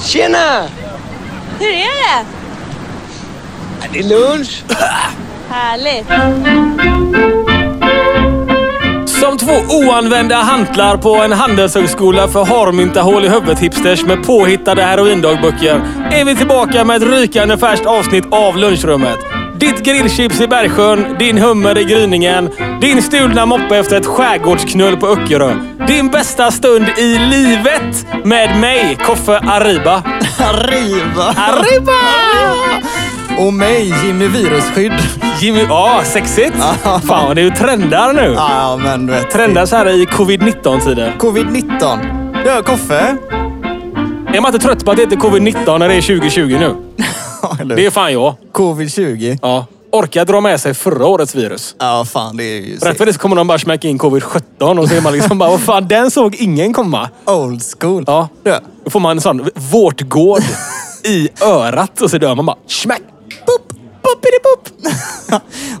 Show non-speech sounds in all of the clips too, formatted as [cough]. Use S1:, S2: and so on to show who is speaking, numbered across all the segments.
S1: Tjena!
S2: Hur är det?
S1: Det är lunch.
S2: Härligt.
S3: Som två oanvända hantlar på en handelshögskola för harmyntahål i huvudet-hipsters med påhittade heroindagböcker är vi tillbaka med ett rykande färskt avsnitt av lunchrummet. Ditt grillchips i Bergsjön, din hummer i gryningen, din stulna moppe efter ett skärgårdsknull på Öckerö. Din bästa stund i livet med mig, Koffe Arriba.
S1: Arriba!
S3: Arriba!
S1: Och mig, Jimmy Virusskydd.
S3: Jimmy, ja sexigt. Fan, det är ju trendar nu.
S1: Ja, men du vet.
S3: Trendar så här i covid-19-tider.
S1: Covid-19. Du, Koffe.
S3: Är man inte trött på att det heter covid-19 när det är 2020 nu?
S1: Eller
S3: Det är fan jag.
S1: Covid-20.
S3: Ja. Orkar dra med sig förra årets virus.
S1: Ja, fan det är ju...
S3: Rätt för det så kommer de bara smäcka in covid-17 och så är man liksom bara, vad fan, den såg ingen komma.
S1: Old school.
S3: Ja.
S1: Du,
S3: Då får man en sån vårtgård i örat och så dör man bara. Smäck! Boop! Boopidi-boop!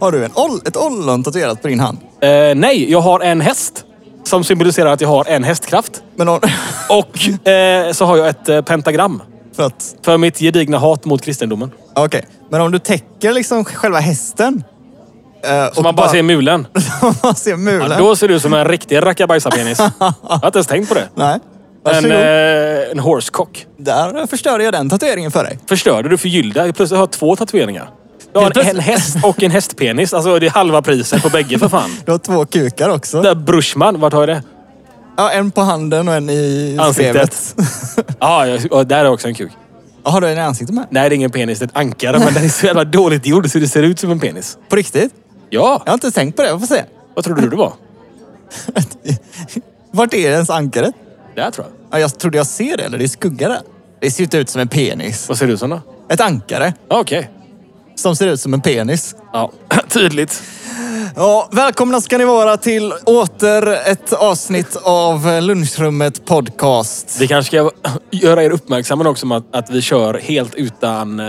S1: [laughs] har du en oll, ett ollon tatuerat på din hand?
S3: Eh, nej, jag har en häst. Som symboliserar att jag har en hästkraft.
S1: Men [laughs] har-
S3: Och eh, så har jag ett eh, pentagram.
S1: för att...
S3: För mitt gedigna hat mot kristendomen.
S1: Okej. Men om du täcker liksom själva hästen. eh,
S3: Så man bara ser mulen.
S1: [laughs] man ser mulen.
S3: Ja, då ser du ut som en riktig rackabajsarpenis. Jag har inte ens tänkt på det.
S1: Nej.
S3: En,
S1: Varsågod.
S3: eh, en horsecock.
S1: Där förstörde jag den tatueringen för dig.
S3: Förstörde du för Gylda? Jag Plötsligt har jag två tatueringar. Jag har en, en häst och en hästpenis. Alltså det är halva priset på bägge för fan.
S1: Du har två kukar också.
S3: Där Brushman, vart har jag det?
S1: Ja, en på handen och en i
S3: Ansiktet.
S1: skrevet.
S3: Ah, ja, ja, där är också en kuk.
S1: Ja, Har du en i ansiktet med?
S3: Nej, det är ingen penis. Det är ett ankare. Men den är så jävla dåligt gjord så det ser ut som en penis.
S1: På riktigt?
S3: Ja,
S1: Jag har inte tänkt på det. Vi får se.
S3: vad trodde du det var?
S1: Vart är ens ankare?
S3: Där tror jag.
S1: Ja, jag trodde jag ser det, eller det är skugga där. Det ser inte ut som en penis.
S3: Vad ser det ut som då?
S1: Ett ankare
S3: Ja, Okej.
S1: som ser ut som en penis.
S3: Ja, [clears throat] tydligt.
S1: Ja, välkomna ska ni vara till åter ett avsnitt av eh, Lunchrummet Podcast.
S3: Vi kanske ska [laughs] göra er uppmärksamma också om att, att vi kör helt utan, eh,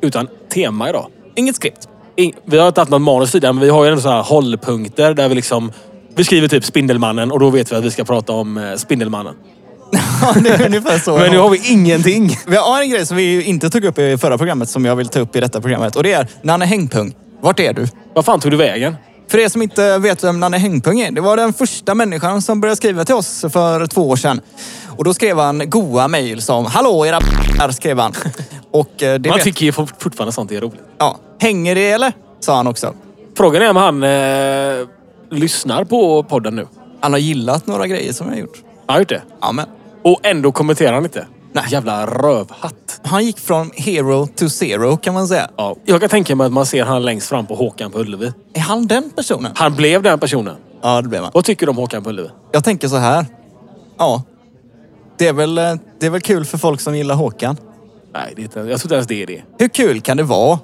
S3: utan tema idag.
S1: Inget skript. [laughs]
S3: Ing- vi har inte haft något manus tidigare, men vi har ju ändå så här hållpunkter där vi liksom vi skriver typ Spindelmannen och då vet vi att vi ska prata om eh, Spindelmannen.
S1: Ja, det är ungefär
S3: [laughs]
S1: så.
S3: Men nu har vi ingenting.
S1: Vi har en grej som vi ju inte tog upp i förra programmet som jag vill ta upp i detta programmet. Och det är Nanne Hängpung. Vart är du?
S3: Vad fan tog du vägen?
S1: För er som inte vet vem Nanne Hängpung är, det var den första människan som började skriva till oss för två år sedan. Och då skrev han goa mejl som “Hallå era p***ar” skrev han. Och eh, det
S3: Man
S1: vet...
S3: tycker ju fort- fortfarande sånt är roligt.
S1: Ja. Hänger det eller? Sa han också.
S3: Frågan är om han eh, lyssnar på podden nu.
S1: Han har gillat några grejer som jag har gjort.
S3: Han har gjort det.
S1: Ja, men.
S3: Och ändå kommenterar han inte.
S1: Nej.
S3: Jävla rövhatt.
S1: Han gick från hero to zero kan man säga.
S3: Ja, jag kan tänka mig att man ser han längst fram på Håkan på Ullevi.
S1: Är han den personen?
S3: Han blev den personen.
S1: Ja, det blev han.
S3: Vad tycker du om Håkan på Ullevi?
S1: Jag tänker så här. Ja. Det är väl, eh, det är väl kul för folk som gillar Håkan.
S3: Nej, det är inte, jag tror inte ens det är det.
S1: Hur kul kan det vara?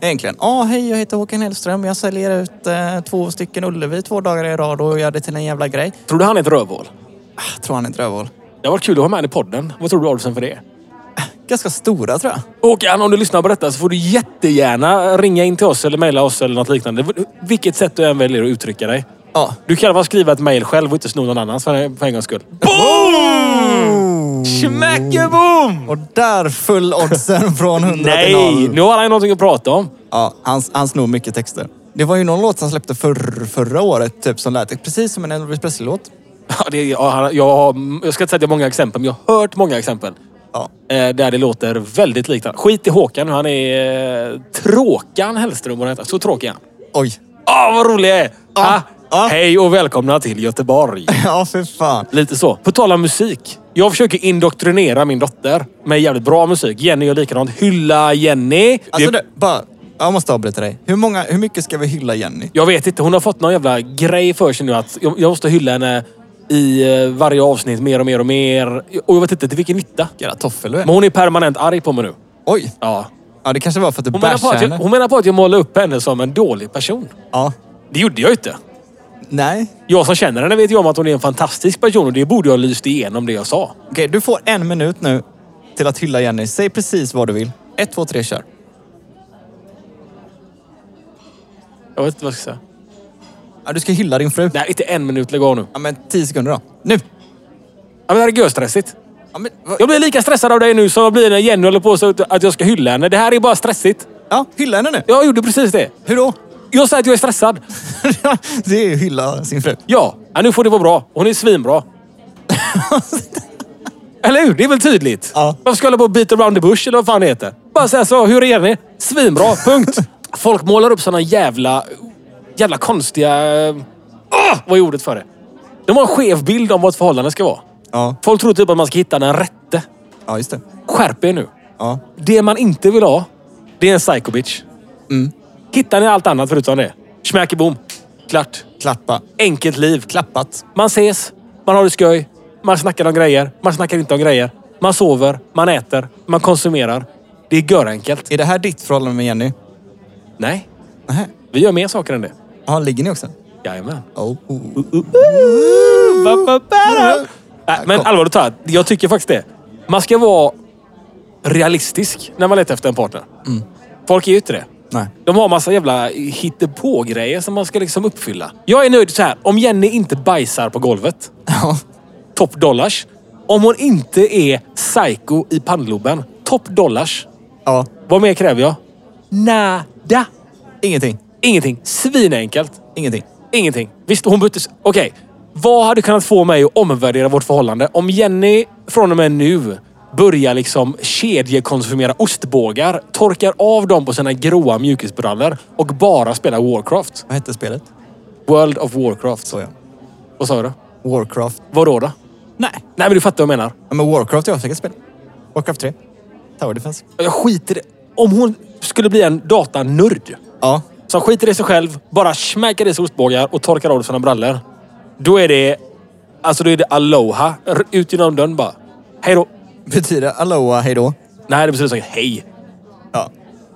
S1: Egentligen. Ja, hej, jag heter Håkan Hellström. Jag säljer ut eh, två stycken Ullevi två dagar i rad och gör det till en jävla grej.
S3: Tror du han är ett rövhål?
S1: Ah, tror han är ett rövhål.
S3: Det har varit kul att ha med honom i podden. Vad tror du Adolfsen för det?
S1: Ganska stora tror jag.
S3: Håkan, om du lyssnar på detta så får du jättegärna ringa in till oss eller mejla oss eller något liknande. Vilket sätt du än väljer att uttrycka dig.
S1: Ja.
S3: Du kan bara skriva ett mejl själv och inte sno någon annans för, för en gångs skull. Boom! Schmackeboom!
S1: Och där föll
S3: [laughs]
S1: oddsen från 100 till
S3: Mm. Nej,
S1: 0.
S3: nu har han ju någonting att prata om.
S1: Ja, han, han snor mycket texter. Det var ju någon låt han släppte förr, förra året typ, som lät precis som en Elvis Presley-låt.
S3: Ja, det, ja, han- jag, har, jag ska inte säga att jag har många exempel, men jag har hört många exempel.
S1: Ja.
S3: Eh, där det låter väldigt likt han. Skit i Håkan nu. Han är eh, Tråkan Hellström. vad han heter. Så tråkig är han.
S1: Oj. [laughs]
S3: Åh, vad rolig jag är! Ah,
S1: ja.
S3: Hej och välkomna till
S1: [laughs]
S3: Göteborg.
S1: Ja, för fan.
S3: Lite så. På tal om musik. Jag försöker indoktrinera min dotter med jävligt bra musik. Jenny gör likadant. Hylla Jenny.
S1: Alltså
S3: det,
S1: du, bara... Jag måste avbryta dig. Hur, många, hur mycket ska vi hylla Jenny?
S3: Jag vet inte. Hon har fått någon jävla grej för sig nu att jag, jag måste hylla henne i eh, varje avsnitt mer och mer och mer. Och jag vet inte till vilken nytta.
S1: Jävla toffel du är.
S3: Men hon är permanent arg på mig nu.
S1: Oj.
S3: Ja.
S1: Ja, det kanske var för att du
S3: Hon menar, på
S1: bashade
S3: att jag,
S1: henne.
S3: hon menar på att jag målar upp henne som en dålig person.
S1: Ja.
S3: Det gjorde jag ju inte.
S1: Nej.
S3: Jag som känner henne vet ju om att hon är en fantastisk person och det borde jag ha lyst igenom det jag sa.
S1: Okej, du får en minut nu till att hylla Jenny. Säg precis vad du vill. Ett, två, tre, kör.
S3: Jag vet inte vad jag ska säga.
S1: Ja, du ska hylla din fru.
S3: Nej, inte en minut. Lägg av nu.
S1: Ja, men tio sekunder då. Nu!
S3: Ja, men det här är görstressigt.
S1: Ja, men, va-
S3: Jag blir lika stressad av dig nu som jag blir när Jenny håller på så att jag ska hylla henne. Det här är bara stressigt.
S1: ja, hylla henne nu.
S3: Jag gjorde precis det.
S1: Hur då? [laughs]
S3: Jag säger att jag är stressad.
S1: det är ju hylla sin fru.
S3: Ja, ja nu får det vara bra. Hon är svinbra. eller hur? Det är väl tydligt?
S1: Ja.
S3: Varför ska jag hålla på och beat around the bush eller vad fan det heter? Bara säga så. Hur är ni? Svinbra. Punkt. Folk målar upp såna jävla... Jävla konstiga... Ah! Vad är ordet för det? De har en skev bild om vad ett förhållande ska vara.
S1: Ja,
S3: Folk tror typ att man ska hitta den rätte.
S1: ja just det.
S3: Skärp er nu.
S1: Ja.
S3: Det man inte vill ha, det är en psycho bitch. Hittar ni allt annat förutom det? Smäckebom. Klart.
S1: Klappa.
S3: Enkelt liv.
S1: Klappat.
S3: Man ses, man har det skoj, man snackar om grejer, man snackar inte om grejer. Man sover, man äter, man konsumerar. Det är görenkelt.
S1: Är det här ditt förhållande med Jenny?
S3: Nej,
S1: Nähä.
S3: vi gör mer saker än det.
S1: Ja, ligger ni också?
S3: Jajamän.
S1: Oh.
S3: Ba, ba, ba, da. Nej, men
S1: kom.
S3: allvarligt talat, jag tycker faktiskt det. Man ska vara realistisk när man letar efter en partner. Folk är ju inte det.
S1: Nej. [laughs]
S3: De har massa jävla hittepå-grejer som man ska liksom uppfylla. Jag är nöjd så här. om Jenny inte bajsar på golvet.
S1: Ja.
S3: top dollars. Om hon inte är psycho i pannloben, top dollars.
S1: ja.
S3: Vad mer kräver jag? Nada.
S1: Ingenting.
S3: Ingenting. Svinenkelt.
S1: Ingenting.
S3: Ingenting. Visst, hon byttes... Okej. Vad hade kunnat få mig att omvärdera vårt förhållande? Om Jenny från och med nu börjar liksom kedjekonsumera ostbågar, torkar av dem på sina gråa mjukisbrallor och bara spelar Warcraft.
S1: Vad hette spelet?
S3: World of Warcraft.
S1: Så ja.
S3: Vad sa du?
S1: Warcraft.
S3: Vadå då?
S1: Nej.
S3: Nej, men du fattar vad jag menar.
S1: Ja, men Warcraft är avsäkert spel. Warcraft 3. Tower Defense.
S3: Jag skiter i det. Om hon skulle bli en datanörd
S1: Ja.
S3: som skiter i sig själv, bara smäker i sig ostbågar och torkar av sina brallor. Då är det... Alltså då är det aloha. R- Ut genom dörren bara. Hej då.
S1: Betyder aloha hejdå?
S3: Nej, det betyder säkert hej.
S1: Ja.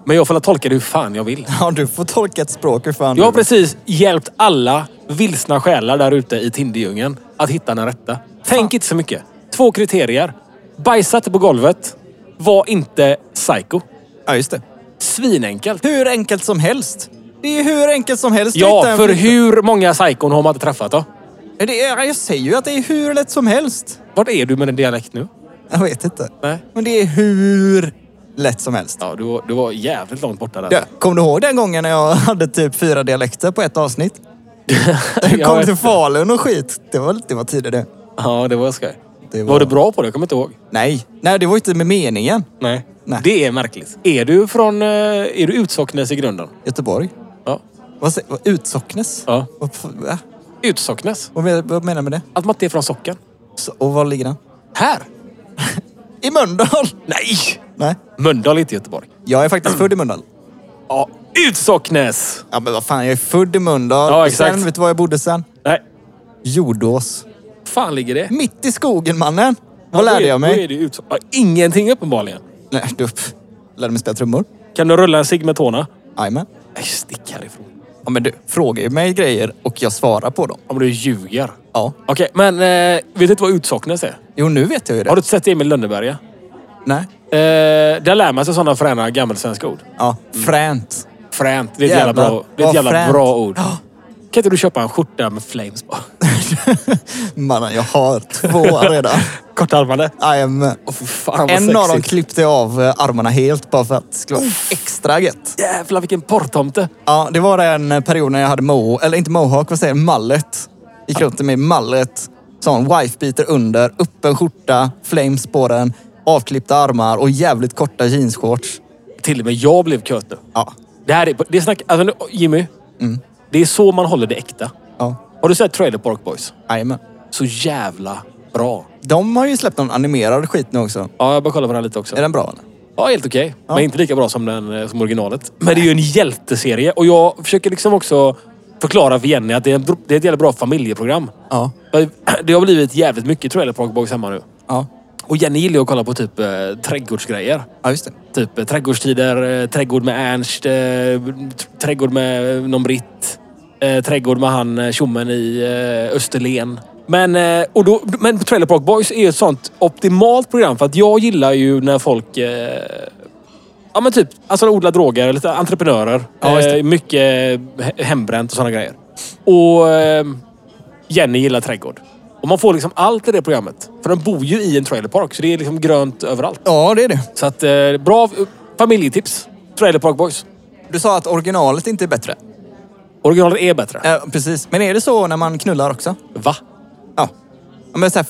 S3: Men jag får väl tolka det hur fan jag vill.
S1: Ja, du får tolka ett språk hur fan
S3: Jag har
S1: du vill.
S3: precis hjälpt alla vilsna själar där ute i Tinderdjungeln att hitta den rätta. Tänk inte så mycket. Två kriterier. Bajsa inte på golvet. Var inte psycho.
S1: Ja, just det.
S3: Svinenkelt.
S1: Hur enkelt som helst. Det är hur enkelt som helst. att hitta
S3: Ja,
S1: en
S3: för
S1: flicka.
S3: hur många psykon har man inte träffat då?
S1: Det är, jag säger ju att det är hur lätt som helst.
S3: Vart är du med din dialekt nu?
S1: Jag vet inte.
S3: Nej.
S1: Men det är hur lätt som helst.
S3: Ja, du var, du var jävligt långt borta där.
S1: Ja,
S3: [laughs]
S1: Kommer du ihåg den gången när jag hade typ fyra dialekter på ett
S3: [laughs]
S1: avsnitt? Jag
S3: Jag
S1: kom
S3: vet
S1: till
S3: det.
S1: Falun och skit. Det var, det var tider det.
S3: Ja, det var skoj.
S1: Det
S3: var...
S1: var-
S3: du bra på det? Jag kommer inte ihåg.
S1: Nej, nej det var ju inte med meningen.
S3: Nej.
S1: Nej.
S3: Det är märkligt. Är du från... eh, Är du Utsocknes i grunden?
S1: Göteborg.
S3: Ja.
S1: Vad säger, vad, utsocknes?
S3: Ja.
S1: Vad, f- va?
S3: Utsocknes.
S1: vad, men- vad menar du med det?
S3: Att man inte är från socken.
S1: Så, och var ligger den?
S3: Här?
S1: I Mölndal! [laughs]
S3: Nej!
S1: Nej,
S3: Mölndal är inte Göteborg.
S1: jag är faktiskt född i Mölndal.
S3: Ja, Utsocknes!
S1: Ja men vad fan, jag är född i Mölndal.
S3: Ja,
S1: Och
S3: exakt.
S1: Sen, vet du var jag bodde sen?
S3: Nej.
S1: Jordås.
S3: fan ligger det?
S1: Mitt i skogen mannen! Mm, Vad
S3: Då
S1: lärde
S3: är-
S1: jag
S3: Då är
S1: mig?
S3: det utso- ja, ingenting uppenbarligen.
S1: Nej, du pff, lärde mig spela trummor.
S3: Kan du rulla en cigg med tårna?
S1: Jajamän.
S3: Nej, stick härifrån.
S1: Ja men du frågar ju mig grejer och jag svarar på dem.
S3: Om du ljuger.
S1: Ja.
S3: Okej, men eh, vet du inte vad Utsocknes är?
S1: Jo nu vet jag ju det.
S3: Har du inte sett Emil Lönneberga?
S1: Nej.
S3: Eh, där lär man sig sådana fräna gammelsvenska ord.
S1: Ja, fränt.
S3: Fränt. Det är ett
S1: Jävlar.
S3: jävla bra, det är ett
S1: Vad
S3: jävla
S1: fränt.
S3: bra ord.
S1: Ja.
S3: Kan inte du köpa en skjorta med
S1: [laughs]
S3: flames på?
S1: Mannen jag har
S3: [laughs]
S1: två redan.
S3: Kortärmade.
S1: Jajamän.
S3: Åh fy fan vad
S1: En
S3: sexigt.
S1: av dem klippte av eh, armarna helt bara för att det skulle vara extra gött.
S3: Jävlar vilken porrtomte.
S1: Ja, det var en period när jag hade mo, eller inte mohawk, vad säger jag, mallet. Gick runt med mallet, sån wifebeater under, öppen skjorta, flames på den, avklippta armar och jävligt korta jeansshorts.
S3: Till och med jag blev köt nu.
S1: Ja, Mm.
S3: Det här är... Det är snack... Alltså nu, Jimmy. Det är så man håller det äkta.
S1: ja,
S3: Har du sett Trailer Park Boys?
S1: jajamän.
S3: Så jävla bra.
S1: De har ju släppt någon animerad skit nu också.
S3: Ja, jag bara kollar på den här lite också.
S1: Är den bra eller?
S3: Ja, helt okej. Men inte lika bra som, den, eh, som originalet. Men det är ju en hjälteserie och jag försöker liksom också förklara för Jenny att det är, en, br- det är ett jävla bra familjeprogram.
S1: Ja.
S3: Jag- Det har blivit jävligt mycket Trailer Park Boys hemma nu.
S1: Ja,
S3: Och Jenny gillar ju att kolla på typ eh, trädgårdsgrejer.
S1: ja just det.
S3: Typ eh, trädgårdstider, eh, trädgård med Ernst, eh, t- trädgård med eh, någon britt. Eh, trädgård med han eh, tjommen i eh, Österlen. Men, eh, och då, men Trailer Park Boys är ju ett sånt optimalt program för att jag gillar ju när folk... Eh, ja men typ, alltså odlar droger, lite entreprenörer.
S1: Ja, just det.
S3: eh, mycket he- hembränt och sådana grejer. Och eh, Jenny gillar trädgård. Och man får liksom allt i det programmet. För de bor ju i en trailerpark, så det är liksom grönt överallt.
S1: Ja, det är det.
S3: Så att, eh, bra eh, familjetips. Trailer Park Boys.
S1: Du sa att originalet inte är bättre.
S3: Originalet är bättre.
S1: Ja, precis. Men är det så när man knullar också?
S3: Va?
S1: Ja. Ja, Men Steff,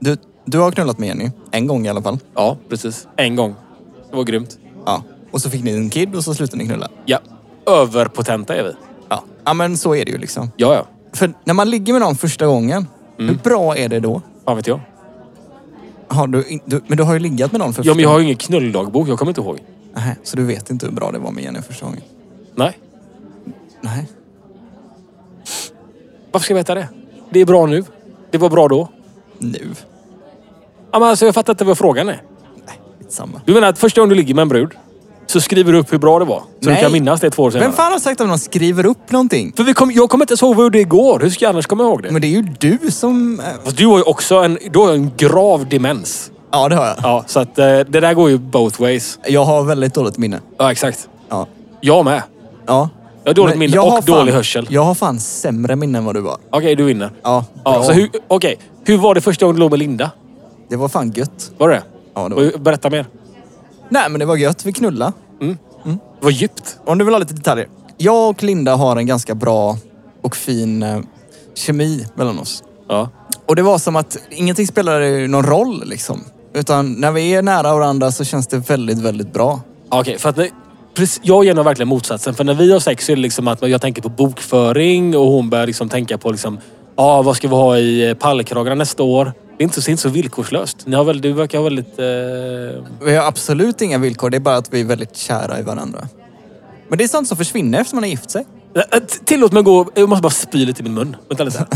S1: du, du har knullat med Jenny. En gång i alla fall.
S3: Ja, precis. En gång. Det var grymt.
S1: Ja. Och så fick ni en kid och så slutade ni knulla.
S3: Ja. Överpotenta är vi.
S1: Ja. ja, men så är det ju liksom.
S3: Ja, ja.
S1: För när man ligger med någon första gången,
S3: Mm.
S1: hur bra är det då?
S3: Fan vet jag.
S1: Har du, in- du, men du har ju liggat med någon för
S3: Ja, men
S1: första
S3: jag har ju ingen knulldagbok. Jag kommer inte ihåg.
S1: Nej, Så du vet inte hur bra det var med Jenny första gången?
S3: Nej.
S1: Nej.
S3: Varför ska jag veta det? Det är bra nu. Det var bra då.
S1: Nu.
S3: Ja, men alltså, jag fattar inte vad frågan är.
S1: Samma.
S3: Du menar att första gången du ligger med en brud så skriver du upp hur bra det var? Så
S1: Nej.
S3: du kan minnas det två år senare?
S1: Vem fan har sagt att någon skriver upp någonting?
S3: För vi kom, jag kommer inte ens ihåg vad jag gjorde igår. Hur ska jag annars komma ihåg det?
S1: Men det är ju du som... eh,
S3: Fast du har ju också en, du har ju en grav demens.
S1: Ja, det har jag.
S3: Ja, så att eh, det där går ju both ways.
S1: Jag har väldigt dåligt minne.
S3: Ja, exakt.
S1: Ja.
S3: Jag med.
S1: ja.
S3: Jag har dåligt
S1: Men
S3: minne
S1: jag
S3: och
S1: har fan,
S3: dålig hörsel.
S1: Jag har fan sämre minne än vad du har.
S3: Okej, du vinner.
S1: Ja,
S3: Ja,
S1: bra.
S3: så hur, okej. hur var det första gången du låg med Linda?
S1: Det var fan gött.
S3: Var det
S1: Ja, det var det.
S3: Och Berätta mer.
S1: Nej, men det var gött. Vi knulla.
S3: Det var djupt.
S1: Om du vill ha lite detaljer. Jag och Linda har en ganska bra och fin eh, kemi mellan oss.
S3: Ja.
S1: Och det var som att ingenting spelade ju någon roll liksom. Utan när vi är nära varandra så känns det väldigt, väldigt bra.
S3: Okej, för att... ni- precis- Jag gör nog verkligen motsatsen. För när vi har sex så är det liksom att jag tänker på bokföring och hon börjar liksom tänka på liksom... Ja, ah, vad ska vi ha i eh, pallkragarna nästa år? Det är inte så, det är inte så villkorslöst. Ni har väl, du verkar ha väldigt... Eh...
S1: Vi har absolut inga villkor, det är bara att vi är väldigt kära i varandra. Men det är sånt som försvinner efter man har gift sig.
S3: Äh, t- Tillåt mig gå... Jag måste bara spy lite i min mun. Vänta lite. Mm.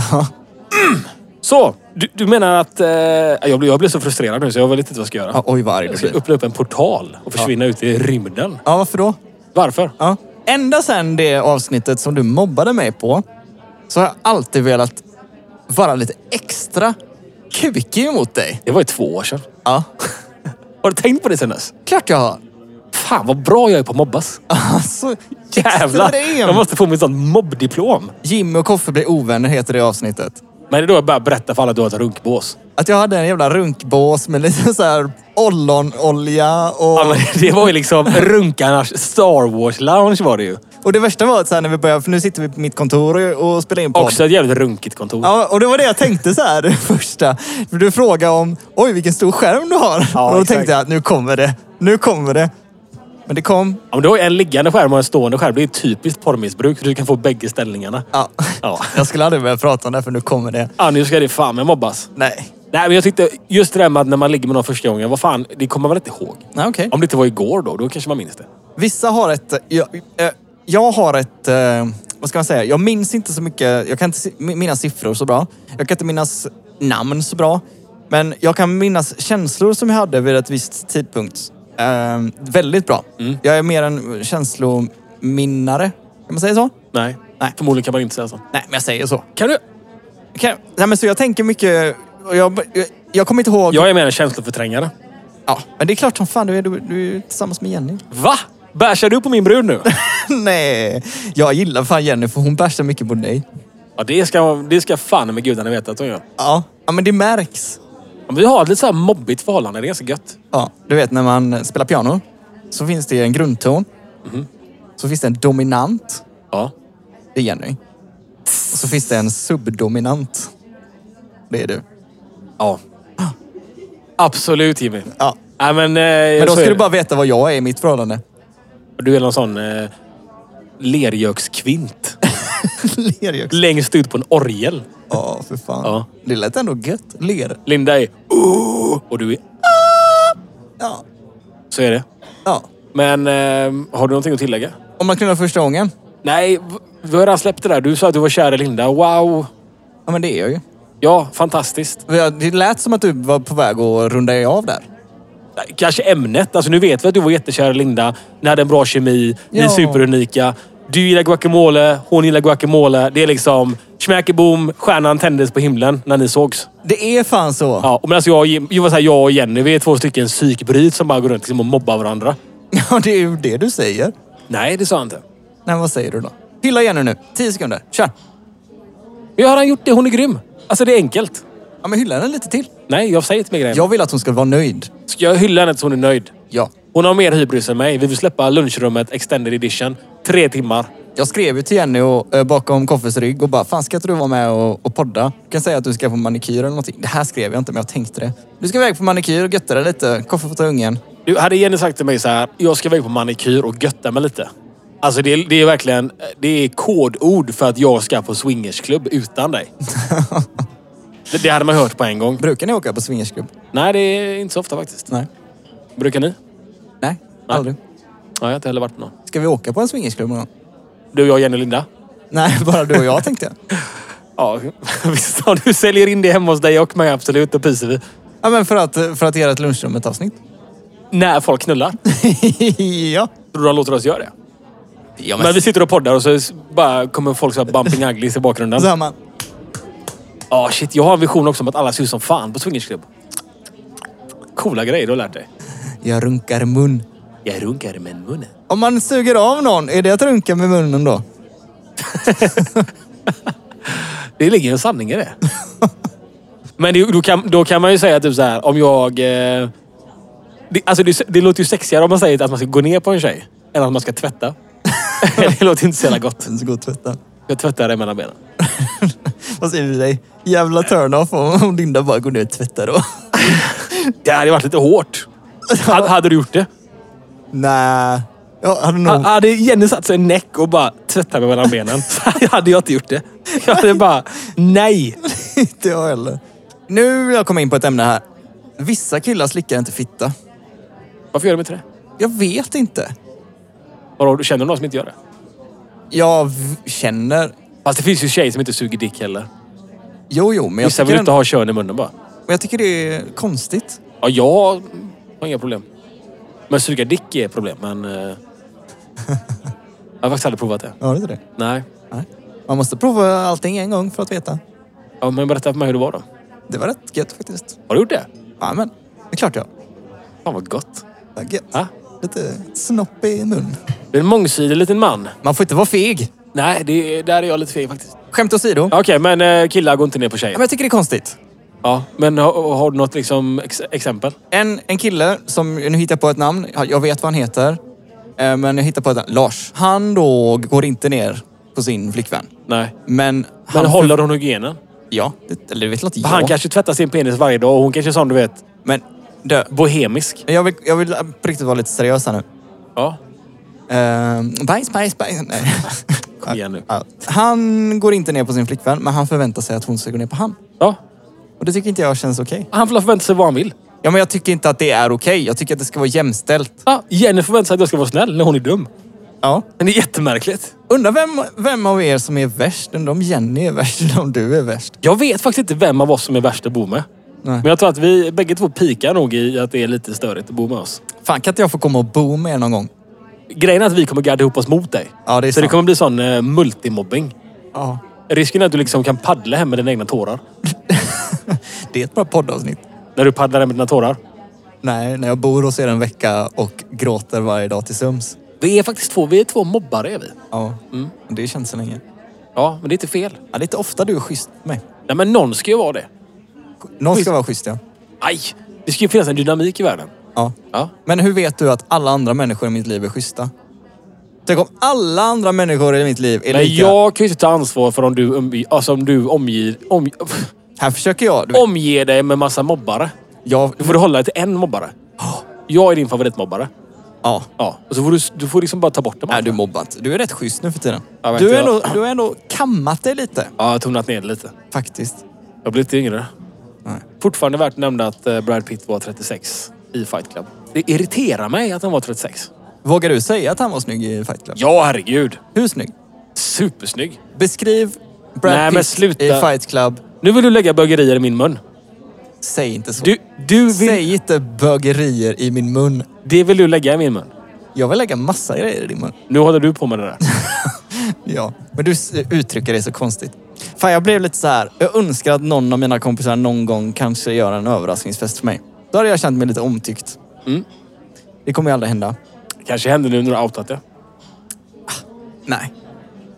S3: Så, du, du menar att... Eh, jag, blir, jag blir så frustrerad nu så jag vet inte vad jag ska göra.
S1: Ja, oj vad arg
S3: Jag
S1: du
S3: ska
S1: blir.
S3: öppna upp en portal och försvinna ut i rymden.
S1: Ja, varför då?
S3: Varför?
S1: Ja. Ända sedan det avsnittet som du mobbade mig på så har jag alltid velat vara lite extra kukig mot dig.
S3: Det var ju två år sedan.
S1: Ja,
S3: Har du tänkt på det sen dess?
S1: klart jag har.
S3: Fan vad bra jag är på att mobbas.
S1: [laughs] Alltså,
S3: Jävlar!
S1: extrem.
S3: Jag måste få mitt sånt mobbdiplom.
S1: Jimmy och Koffe blir ovänner heter det avsnittet.
S3: Men det är då jag börjar berätta för alla att du har ett runkbås.
S1: Att jag hade en jävla runkbås med lite så här ollonolja och...
S3: Ja, men [laughs] det var ju liksom runkarnas Star Wars-lounge var det ju.
S1: Och det värsta var att så här när vi började, för nu sitter vi på mitt kontor och och spelar in podd.
S3: Också ett jävligt runkigt kontor.
S1: Ja, och det var det jag tänkte så här [laughs] det första. För du frågade om, oj vilken stor skärm du har.
S3: Ja,
S1: och då
S3: exakt.
S1: tänkte jag, nu kommer det. Nu kommer det. Men det kom.
S3: Ja, men du har ju en liggande skärm och en stående skärm. Det är ju typiskt porrmissbruk. så Du kan få bägge ställningarna.
S1: Ja.
S3: Ja.
S1: [laughs] Jag skulle aldrig börja prata om det, för nu kommer det.
S3: Ja, nu ska det fan med mobbas.
S1: Nej.
S3: Nej, men jag tyckte just det där med att när man ligger med någon första gången. Vad fan, det kommer man väl inte ihåg?
S1: Nej, okej.
S3: Om det inte var igår då, då kanske man minns det.
S1: Vissa har ett... Jag, eh, jag har ett... eh, Vad ska man säga? Jag minns inte så mycket. Jag kan inte si- mi- minnas siffror så bra. Jag kan inte minnas namn så bra. Men jag kan minnas känslor som jag hade vid ett visst tidpunkt. Eh, väldigt bra. Jag är mer en känslominnare. Kan man säga så?
S3: Nej.
S1: Nej.
S3: Förmodligen kan man inte säga så.
S1: Nej, men jag säger så.
S3: Kan du?
S1: Kan, nej, men så jag tänker mycket... och Jag, jag, jag kommer inte ihåg... Ja.
S3: Jag är mer en känsloförträngare.
S1: men det är klart som fan, du är, du, du är ju tillsammans med Jenny.
S3: Va? Bärsar du på min brud nu?
S1: [laughs] nej, jag gillar fan Jenny för hon bärsar mycket på dig.
S3: ja, det ska, det ska fan med gudarna veta att hon gör.
S1: Ja, ja men det märks.
S3: Ja, men vi har ett lite så här mobbigt förhållande. Det är ganska gött.
S1: Ja, du vet när man spelar piano så finns det en grundton.
S3: Mhm.
S1: Så finns det en dominant,
S3: Ja.
S1: det är Jenny. Och så finns det en subdominant. Det är du.
S3: Ja. Absolut Jimmy.
S1: Ja.
S3: Nej, men, eh,
S1: Men då
S3: så
S1: ska
S3: är
S1: du
S3: det.
S1: bara veta vad jag är i mitt
S3: [laughs]
S1: förhållande.
S3: Du är någon sån eh, [laughs] lergökskvint.
S1: Lerjöks.
S3: Längst ut på en orgel.
S1: Ja, för fan.
S3: Ja.
S1: Det lät ändå gött. Ler.
S3: Linda är "Åh", och du är
S1: Ja.
S3: Så är det.
S1: ja.
S3: Men eh, har du någonting att tillägga?
S1: Om man knullar första gången.
S3: Nej, v- vi har redan släppt det där. Du sa att du var kär i Linda. Wow!
S1: Ja, men det är jag ju.
S3: Ja, fantastiskt.
S1: Det lät som att du var på väg att runda av där.
S3: Nej, Kanske ämnet. Alltså nu vet vi att du var jättekär i Linda. Ni hade en bra kemi. Ni är
S1: Ja.
S3: superunika. Du gillar guacamole. Hon gillar guacamole. Det är liksom smäckeboom. Stjärnan tändes på himlen när ni sågs.
S1: Det är fan så.
S3: Ja, och men alltså jag, och Jim- jag, var så här, jag och Jenny, vi är två stycken psykbryt som bara går runt liksom och mobbar varandra.
S1: [laughs] ja, det är ju det du säger.
S3: Nej, det sa han inte.
S1: Nej, vad säger du då? Hylla Jenny nu. Tio sekunder. Kör.
S3: Men jag har han gjort det. Hon är grym. Alltså det är enkelt.
S1: Ja, men hylla henne lite till.
S3: Nej, jag säger inte mer grejer.
S1: Jag vill att hon ska vara nöjd.
S3: Ska jag hylla henne tills hon är nöjd?
S1: Ja.
S3: Hon har mer hybris än mig. Vi vill släppa lunchrummet extended edition. Tre timmar.
S1: Jag skrev ju till Jenny och, eh, bakom Koffes rygg och bara, fan ska inte du vara med och, och podda? Du kan säga att du ska på manikyr eller någonting. Det här skrev jag inte, men jag tänkte det. Du ska iväg på manikyr och götta dig lite. Koffe får ta ungen.
S3: Du, hade Jenny sagt till mig så här, jag ska iväg på manikyr och götta mig lite. Alltså det, är- det är verkligen det är kodord för att jag ska på swingersklubb utan dig. det, det hade man hört på en gång.
S1: Brukar ni åka på swingersklubb?
S3: Nej, det är inte så ofta faktiskt.
S1: Nej.
S3: Brukar ni?
S1: Nej, aldrig.
S3: Ja, jag har inte heller varit på någon.
S1: Ska vi åka på en swingersklubb någon gång?
S3: Du, jag, Jenny och Linda?
S1: Nej, [laughs] bara du och jag tänkte jag.
S3: Ja, [laughs] visst. Om du säljer in det hemma hos dig och mig, absolut. Då pyser vi.
S1: Ja, men för att, för att göra ett lunchrummet-avsnitt.
S3: När folk knullar.
S1: [laughs] ja.
S3: Tror du han låter oss göra det?
S1: ja
S3: Men vi sitter och poddar och så s- bara kommer folk så här bumping uglies i [laughs] bakgrunden.
S1: Så hör man.
S3: Ja, shit. Jag har en vision också om att alla ser ut som fan på swingersklubb. Coola grejer du har lärt dig.
S1: Jag runkar mun.
S3: Jag runkar med munnen.
S1: Om man suger av någon, är det att runka med munnen då?
S3: Det ligger en sanning i det. [laughs] Men det, då, kan, då kan man ju säga typ så här, om jag... Eh, det, alltså det, det låter ju sexigare om man säger att man ska gå ner på en tjej än att man ska [laughs] tvätta. det låter inte så jävla gott.
S1: Sen så går och tvätta.
S3: Jag tvättar det mellan benen.
S1: Vad säger du till dig? Jävla turn-off om om Linda bara går ner och tvättar då. [laughs]
S3: Det hade varit lite hårt. Hade, hade du gjort det?
S1: Nej. Jag hade nog...
S3: Ha- Hade Jenny satt sig i näck och bara tvättat mig mellan [laughs] benen så hade jag inte gjort det. Jag hade bara, nej.
S1: [laughs] Inte jag heller. Nu vill jag komma in på ett ämne här. Vissa killar slickar inte fitta.
S3: Varför gör de inte det?
S1: Jag vet inte.
S3: Vadå, känner du någon som inte gör det?
S1: Jag v- känner...
S3: Fast det finns ju tjejer som inte suger dick heller.
S1: Jo, jo, men jag,
S3: Vissa
S1: tycker,
S3: vill inte
S1: ändå,
S3: ha kön i munnen bara.
S1: men jag tycker det är konstigt.
S3: Ja, jag har inga problem. Men suga dick är ett problem, men... eh, [laughs] jag har faktiskt aldrig provat det.
S1: Har du inte det?
S3: Nej.
S1: Nej. Man måste prova allting en gång för att veta.
S3: Ja, men berätta för mig hur det var då.
S1: Det var rätt gött faktiskt.
S3: Har du gjort det?
S1: Ja, men det är klart jag.
S3: Fan vad gott.
S1: Ja, gött.
S3: Ja.
S1: Lite snopp i mun.
S3: Du är en mångsidig liten man.
S1: Man får inte vara feg.
S3: Nej, det, där är jag lite feg faktiskt.
S1: Skämt åsido.
S3: Okej, men eh, killar går inte ner på
S1: Ja,
S3: tjejer.
S1: men jag tycker det är konstigt.
S3: Ja, men har, har du något liksom ex- exempel?
S1: En, en kille som, nu hittar jag på ett namn, jag vet vad han heter. eh, Men jag hittar på ett namn, Lars. Han då går inte ner på sin flickvän.
S3: Nej.
S1: Men...
S3: Men
S1: han
S3: håller hon hygienen?
S1: Ja, det, eller det vet jag inte
S3: Han
S1: jag.
S3: kanske tvättar sin penis varje dag och hon kanske är sån du vet,
S1: Men dö.
S3: bohemisk.
S1: Jag vill, jag vill på riktigt vara lite seriös här nu.
S3: Ja.
S1: Uh, bajs, bajs, bajs. Nej.
S3: [laughs] Kom igen nu.
S1: Ja. Han går inte ner på sin flickvän, men han förväntar sig att hon ska gå ner på han.
S3: Ja.
S1: Och det tycker inte jag känns okej.
S3: Han får förvänta sig vad han vill.
S1: Ja, men jag tycker inte att det är okej. Jag tycker att det ska vara jämställt.
S3: Ja, Jenny förväntar sig att jag ska vara snäll när hon är dum.
S1: Ja.
S3: Men det är jättemärkligt.
S1: Undrar vem, vem av er som är värst? Undrar om Jenny är värst eller om du är värst?
S3: Jag vet faktiskt inte vem av oss som är värst att bo med.
S1: Nej.
S3: Men jag tror att vi bägge två pikar nog i att det är lite störigt att bo med oss.
S1: Fan, kan inte jag få komma och bo med er någon gång?
S3: Grejen är att vi kommer gadda ihop oss mot dig.
S1: Ja, det är
S3: Så det
S1: sant.
S3: kommer bli sån eh, multimobbing.
S1: Ja.
S3: Risken är att du liksom kan paddla hem med dina egna tårar.
S1: Det är ett bra poddavsnitt.
S3: När du paddlar hem med dina tårar.
S1: Nej, när jag bor hos er en vecka och gråter varje dag till sömns.
S3: Vi är faktiskt två, vi är två mobbare är vi.
S1: Ja,
S3: Mm.
S1: det känns så länge.
S3: Ja, men det är inte fel.
S1: Ja, det är inte ofta du är schysst med mig.
S3: Nej, men någon ska ju vara det.
S1: Någon ska vara schysst, ja.
S3: Aj! Det ska ju finnas en dynamik i världen.
S1: ja.
S3: Ja.
S1: Men hur vet du att alla andra människor i mitt liv är schyssta? Tänk om alla andra människor i mitt liv är
S3: Men
S1: lika.
S3: jag kan ju inte ta ansvar för om du, umbi, alltså om du omger, om,
S1: Här försöker jag. Du vet,
S3: omger dig med massa mobbare.
S1: jag...
S3: Då får du hålla dig till en mobbare. Jag är din favoritmobbare.
S1: Ja.
S3: Ja. Och så får du, du får liksom bara ta bort dem.
S1: Nej, du mobbar inte. Du är rätt schysst nu för tiden.
S3: Ja, men
S1: du,
S3: inte
S1: är
S3: jag.
S1: ändå, du har ändå kammat dig lite,
S3: Ja, jag har tonat ner det lite.
S1: faktiskt.
S3: Jag blir lite yngre.
S1: Nej.
S3: Fortfarande värt att nämna att eh, Brad Pitt var 36 i Fight Club. Det irriterar mig att han var 36.
S1: Vågar du säga att han var snygg i Fight Club?
S3: Ja, herregud.
S1: Hur snygg?
S3: Supersnygg.
S1: Beskriv Brad
S3: Nej,
S1: Pitt
S3: men sluta.
S1: i Fight Club.
S3: Nu vill du lägga bögerier i min mun.
S1: Säg inte så.
S3: Du, du vill,
S1: Säg inte bögerier i min mun.
S3: Det vill du lägga i min mun.
S1: Jag vill lägga massa grejer i din
S3: [laughs]
S1: mun.
S3: Nu håller du på med det [laughs] där.
S1: Ja, men du s- uttrycker det så konstigt. Fan, jag blev lite så här. Jag önskar att någon av mina kompisar någon gång kanske gör en överraskningsfest för mig. Då hade jag känt mig lite omtyckt.
S3: Mm.
S1: Det kommer ju aldrig hända.
S3: Kanske händer nu när du har outat det.
S1: [laughs] Nej.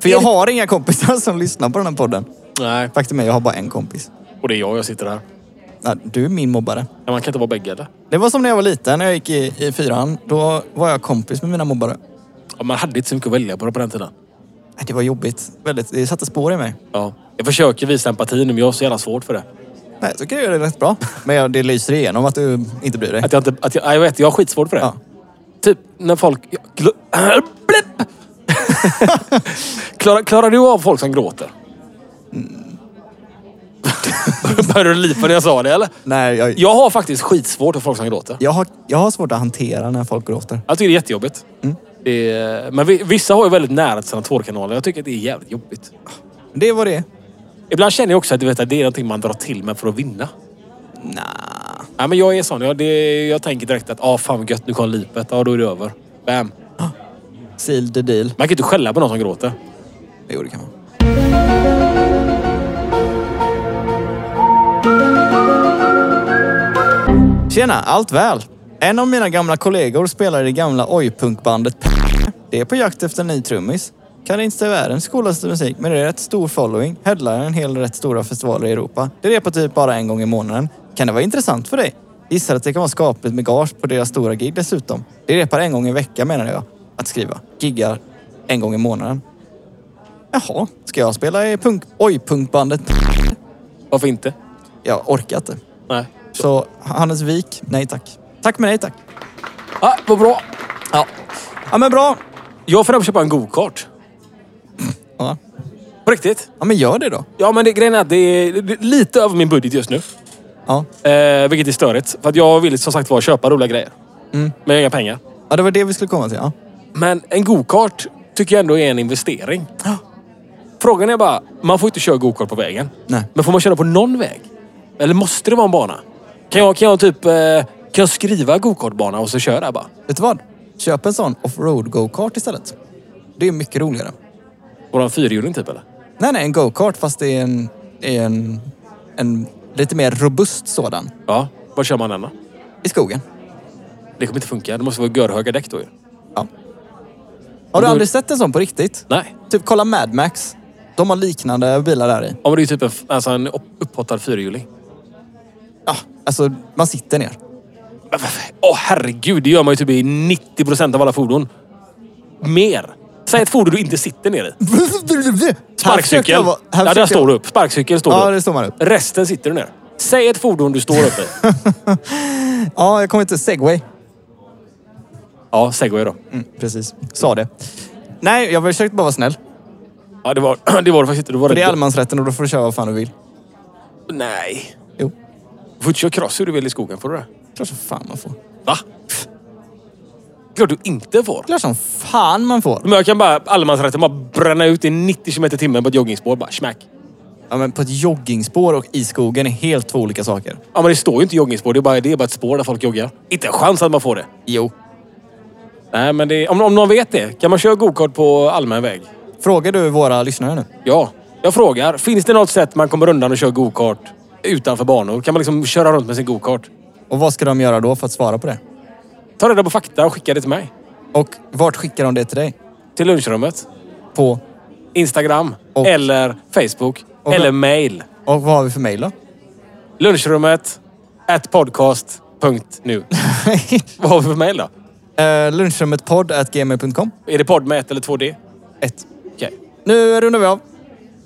S1: För jag har inga kompisar som lyssnar på den här podden.
S3: Nej,
S1: Faktum är, jag har bara en kompis.
S3: och det är jag jag sitter här.
S1: Ja, du är min mobbare.
S3: Ja, man kan inte vara bägge eller?
S1: Det var som när jag var liten, när jag gick i, i fyran. Då var jag kompis med mina mobbare.
S3: Ja, man hade inte så mycket att välja på på den tiden.
S1: Nej, Det var jobbigt. Väldigt, det satte spår i mig.
S3: Ja. Jag försöker visa empati nu, men jag har så jävla svårt för det.
S1: Nej, så kan jag göra det rätt bra. Men jag, det lyser igenom att du inte bryr dig.
S3: Att jag inte... Att jag, nej, jag vet, jag har skitsvårt för det.
S1: Ja.
S3: Typ när folk... jag glö- [laughs] Blipp! klarar, klarar du av folk som gråter? [laughs] Började du lipa när jag sa det eller?
S1: Nej, jag,
S3: Jag har faktiskt skitsvårt för folk som gråter.
S1: jag, har, jag har svårt att hantera när folk gråter.
S3: Jag tycker det är jättejobbigt. Det är, men vi- vissa har ju väldigt nära till sina tårkanaler. Jag tycker att det är jävligt jobbigt.
S1: Det var det
S3: Ibland känner jag också att du vet, att det är någonting man drar till med för att vinna.
S1: Nah.
S3: Nej, men jag är sån. Jag, det, jag tänker direkt att ah, fan vad gött, nu kom lipet. Ja, då är det över. Bam.
S1: Seal the deal.
S3: Man kan ju inte skälla på någon som gråter.
S1: Jo, det kan man. Tjena, allt väl? En av mina gamla kollegor spelar i det gamla oj-punkbandet Det är på jakt efter en ny trummis. Kan inte säga världens coolaste musik, men det är rätt stor following. Headlar en hel rätt stora festivaler i Europa. Det repar typ bara en gång i månaden. Kan det vara intressant för dig? Gissar att det kan vara skapligt med gage på deras stora gig dessutom. Det repar en gång i veckan menar jag att skriva. Giggar en gång i månaden. Jaha, ska jag spela i punk, oj, punkbandet?
S3: Varför inte?
S1: Jag orkar inte.
S3: Nej.
S1: Så Hannes Wik, nej tack. Tack men nej tack.
S3: Ah, vad bra.
S1: Ja. Ja men bra.
S3: Jag funderar på att köpa en go-kart.
S1: Ja.
S3: På riktigt.
S1: ja men gör det då.
S3: Ja, men det, grejen är att det är det är lite över min budget just nu.
S1: Ja.
S3: Eh, vilket är störigt. För att jag vill som sagt vara köpa roliga grejer.
S1: Mm.
S3: Men jag har inga pengar.
S1: ja, det var det vi skulle komma till. Ja.
S3: Men en go-kart tycker jag ändå är en investering. Frågan är bara, man får inte köra go-kart på vägen.
S1: Nej.
S3: Men får man köra på någon väg? Eller måste det vara en bana? Kan jag, kan jag typ... eh, Kan jag skriva go-kartbana och så köra bara?
S1: Vet du vad? Köp en sån offroad go-kart istället. Det är mycket roligare.
S3: Våran fyrhjuling typ eller?
S1: Nej, nej, en go-kart fast det är en, är en, en lite mer robust sådan.
S3: Ja. Var kör man den då?
S1: I skogen.
S3: Det kommer inte funka. Det måste vara görhöga däck då ju.
S1: Ja. Har du
S3: då-
S1: aldrig sett en sån på riktigt?
S3: Nej.
S1: Typ kolla Mad Max. De har liknande bilar där i.
S3: Ja, men det är ju typ en, f- alltså en upp- upphottad fyrhjuling.
S1: Ja, alltså man sitter ner.
S3: Men varför- Åh herregud, det gör man ju typ i 90 procent av alla fordon. Mer. Säg ett fordon du inte sitter ner i. Sparkcykel.
S1: Här försökte jag vara- här
S3: ja, där
S1: försökte
S3: står
S1: jag-
S3: du upp. Sparkcykel står
S1: Ja,
S3: du
S1: det
S3: upp.
S1: står man upp.
S3: Resten sitter du ner. Säg ett fordon du står
S1: [laughs]
S3: upp i.
S1: Ja, jag kommer inte... Segway.
S3: Ja, segway då.
S1: Mm, precis. Sa det. Nej, jag försökte bara vara snäll.
S3: Ja, det var [clears throat] det var det faktiskt inte. Det var
S1: För det är
S3: rätt-
S1: allemansrätten och då får du köra vad fan du vill.
S3: Nej.
S1: Jo,
S3: Du får inte köra cross hur du vill i skogen. Får du det?
S1: klart som fan man får.
S3: Va? Pff. Klart du inte får.
S1: Klart som fan man får.
S3: Men jag kan bara allemansrätten bara bränna ut i 90 km i timmen på ett joggingspår. Bara smack.
S1: Ja, men på ett joggingspår och i skogen är helt två olika saker.
S3: Ja, men det står ju inte joggingspår. Det är bara, det är bara ett spår där folk joggar. Inte en chans att man får det.
S1: Jo.
S3: Nej, men det, om, om någon vet det. Kan man köra gokart på allmän väg?
S1: Frågar du våra lyssnare nu?
S3: Ja. Jag frågar. Finns det något sätt man kommer undan och kör gokart utanför banor? Kan man liksom köra runt med sin gokart?
S1: Och vad ska de göra då för att svara på det?
S3: Ta reda på fakta och skicka det till mig.
S1: Och vart skickar de det till dig?
S3: Till lunchrummet.
S1: På?
S3: Instagram.
S1: Och-
S3: Eller Facebook.
S1: Och-
S3: Eller mail.
S1: Och vad har vi för mejl då? [laughs]
S3: Lunchrummet. At podcast.nu. [laughs] Vad har vi för mail då?
S1: Eh, Lunchrummetpodd.gmail.com
S3: Är det podd med ett eller två D?
S1: 1.
S3: Okej.
S1: Nu rundar vi av.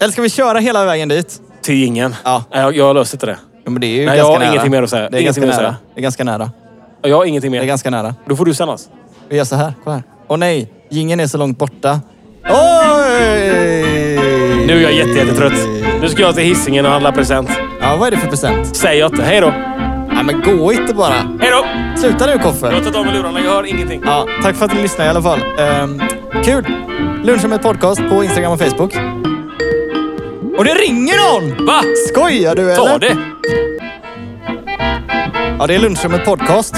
S1: Eller ska vi köra hela vägen dit?
S3: Till ingen.
S1: Ja.
S3: Nej, Jag, jag löser inte det.
S1: Ja, men det är ju
S3: Nej, jag
S1: ganska
S3: har
S1: nära.
S3: ingenting mer att säga.
S1: Det är, ganska
S3: Ingenting mer att
S1: nära.
S3: säga.
S1: det är ganska nära.
S3: Jag har ingenting mer.
S1: Det är ganska nära.
S3: Då får du Sannas.
S1: Vi gör så här. Kolla här. Åh nej, gingen är så långt borta. Oj!
S3: Nu är jag jätte, jättetrött. Nu ska jag till hissingen och handla present.
S1: Ja, vad är det för present?
S3: Säger jag inte. Hej då.
S1: Nej, men gå inte bara.
S3: Hej då.
S1: Sluta nu,
S3: Jag har
S1: Koffe.
S3: tagit av mig lurarna. Jag hör ingenting.
S1: Ja, tack för att ni lyssnade i alla fall. Ehm, kul! Lunch med ett podcast på Instagram och Facebook. Och det ringer någon!
S3: Va?
S1: Skojar du eller?
S3: Ta det.
S1: Ja, det är lunchrummet podcast.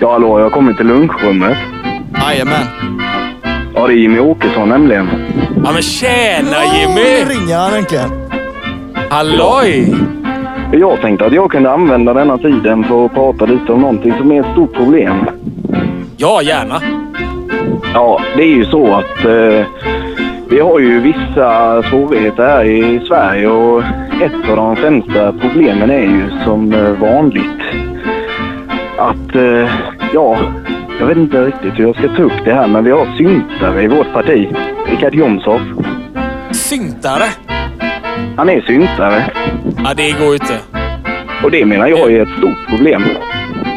S4: Ja, hallå, jag kommer till lunchrummet.
S1: Jajamän.
S4: Ja, det är Jimmy Åkesson nämligen.
S3: Ja men tjena
S1: Nu
S3: Jimmy!
S1: ringer han äntligen.
S3: Halloj!
S4: Jag tänkte att jag kunde använda denna tiden för att prata lite om någonting som är ett stort problem.
S3: Ja, gärna.
S4: Ja, det är ju så att eh, Vi har ju vissa svårigheter här i Sverige och ett av de främsta problemen är ju som eh, vanligt att, eh, ja, jag vet inte riktigt hur jag ska ta upp det här men vi har syntare i vårt parti. Richard Jomshof.
S3: Syntare?
S4: Han är syntare
S3: Ja, det går ju inte.
S4: och det menar jag är ett stort problem.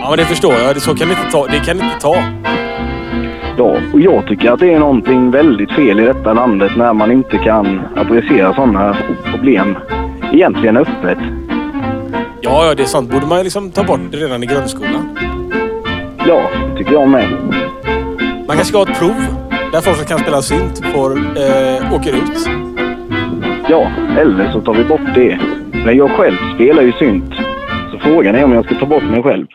S3: Ja, men det förstår jag. Det- Så kan det inte ta. Det kan det inte ta.
S4: Ja, och jag tycker att det är någonting väldigt fel i detta landet när man inte kan adressera sådana problem egentligen öppet.
S3: Ja, ja, det är sant. Borde man ju liksom ta bort det redan i grundskolan.
S4: Ja, tycker jag med.
S3: Man kanske ska ha ett prov där folk som kan spela synt får, eh, åker ut.
S4: Ja, eller så tar vi bort det. Men jag själv spelar ju synt. Så frågan är om jag ska ta bort mig själv.